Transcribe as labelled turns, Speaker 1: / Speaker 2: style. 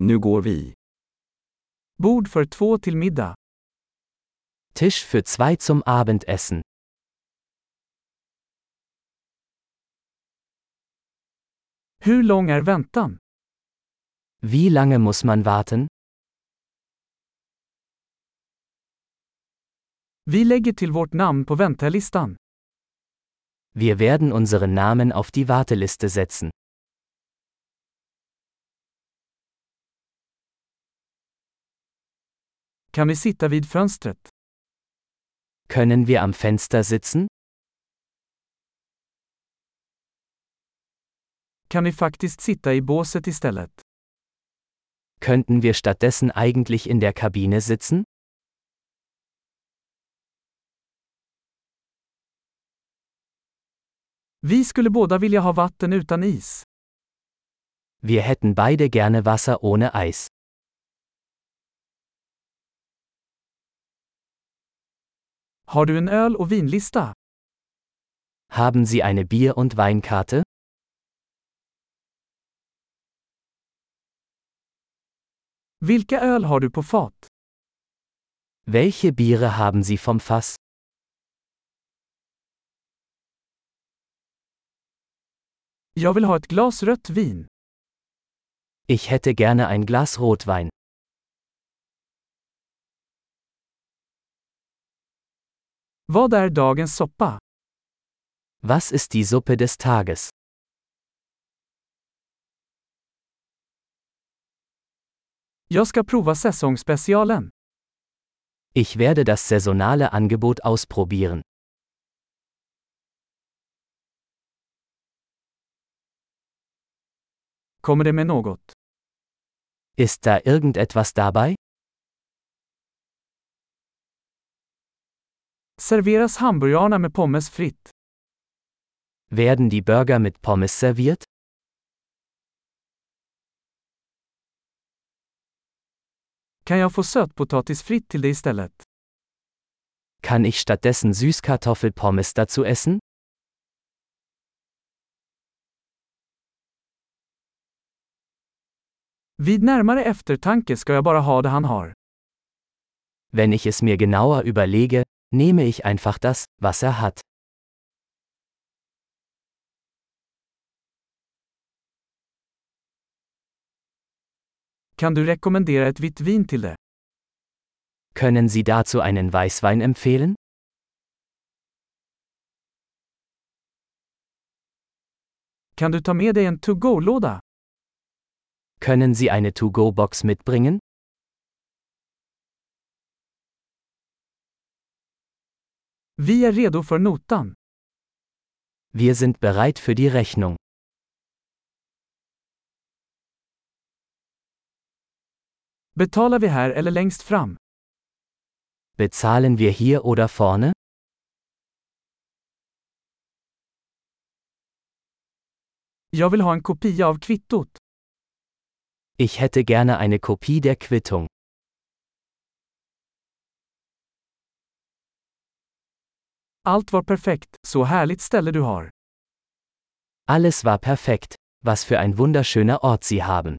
Speaker 1: Nu går vi.
Speaker 2: Bord för två till middag.
Speaker 3: Tisch für zwei zum Abendessen.
Speaker 2: Hur lång är väntan?
Speaker 3: Wie lange muss man warten?
Speaker 2: Vi lägger till vårt namn på väntelistan.
Speaker 3: Wir werden unseren Namen auf die Warteliste setzen.
Speaker 2: Kan vi sitta vid fönstret?
Speaker 3: Können wir am Fenster sitzen?
Speaker 2: Kan vi faktiskt sitta i båset istället?
Speaker 3: Könnten wir stattdessen eigentlich in der Kabine sitzen?
Speaker 2: Vi skulle båda vilja ha vatten utan is.
Speaker 3: Wir hätten beide gerne Wasser ohne Eis.
Speaker 2: Har du en öl och vinlista?
Speaker 3: Haben Sie eine Bier- und Weinkarte?
Speaker 2: Vilka öl har du på fat?
Speaker 3: Welche Biere haben Sie vom Fass?
Speaker 2: Jag vill ha ett glas rött vin.
Speaker 3: Ich hätte gerne ein Glas Rotwein.
Speaker 2: Vad är dagens soppa?
Speaker 3: Was ist die Suppe des Tages?
Speaker 2: Jag ska prova säsongsspecialen.
Speaker 3: Ich werde das saisonale Angebot ausprobieren.
Speaker 2: Kommer det med något?
Speaker 3: Ist da irgendetwas dabei?
Speaker 2: Serveras hamburgarna med pommes fritt?
Speaker 3: Werden die Burger mit Pommes serviert?
Speaker 2: Kan jag få sötpotatis fritt till det istället?
Speaker 3: Kann ich stattdessen Süßkartoffelpommes dazu essen?
Speaker 2: Vid närmare eftertanke ska jag bara ha det han har.
Speaker 3: Wenn ich es mir genauer überlege, nehme ich einfach das, was er hat.
Speaker 2: Kan du rekommendera ett vitt vin till det?
Speaker 3: Können Sie dazu einen Weißwein empfehlen?
Speaker 2: Kan du ta med dig en to-go-låda?
Speaker 3: Können Sie eine To-Go-Box mitbringen?
Speaker 2: Vi är redo för notan.
Speaker 3: Wir sind bereit für die Rechnung.
Speaker 2: Betalar vi här eller längst fram?
Speaker 3: Bezahlen wir hier oder vorne?
Speaker 2: Jag vill ha en kopia av kvittot.
Speaker 3: Ich hätte gerne eine Kopie der Quittung.
Speaker 2: Allt var perfekt, så härligt ställe du har.
Speaker 3: Alles war perfekt. Was für ein wunderschöner Ort Sie haben.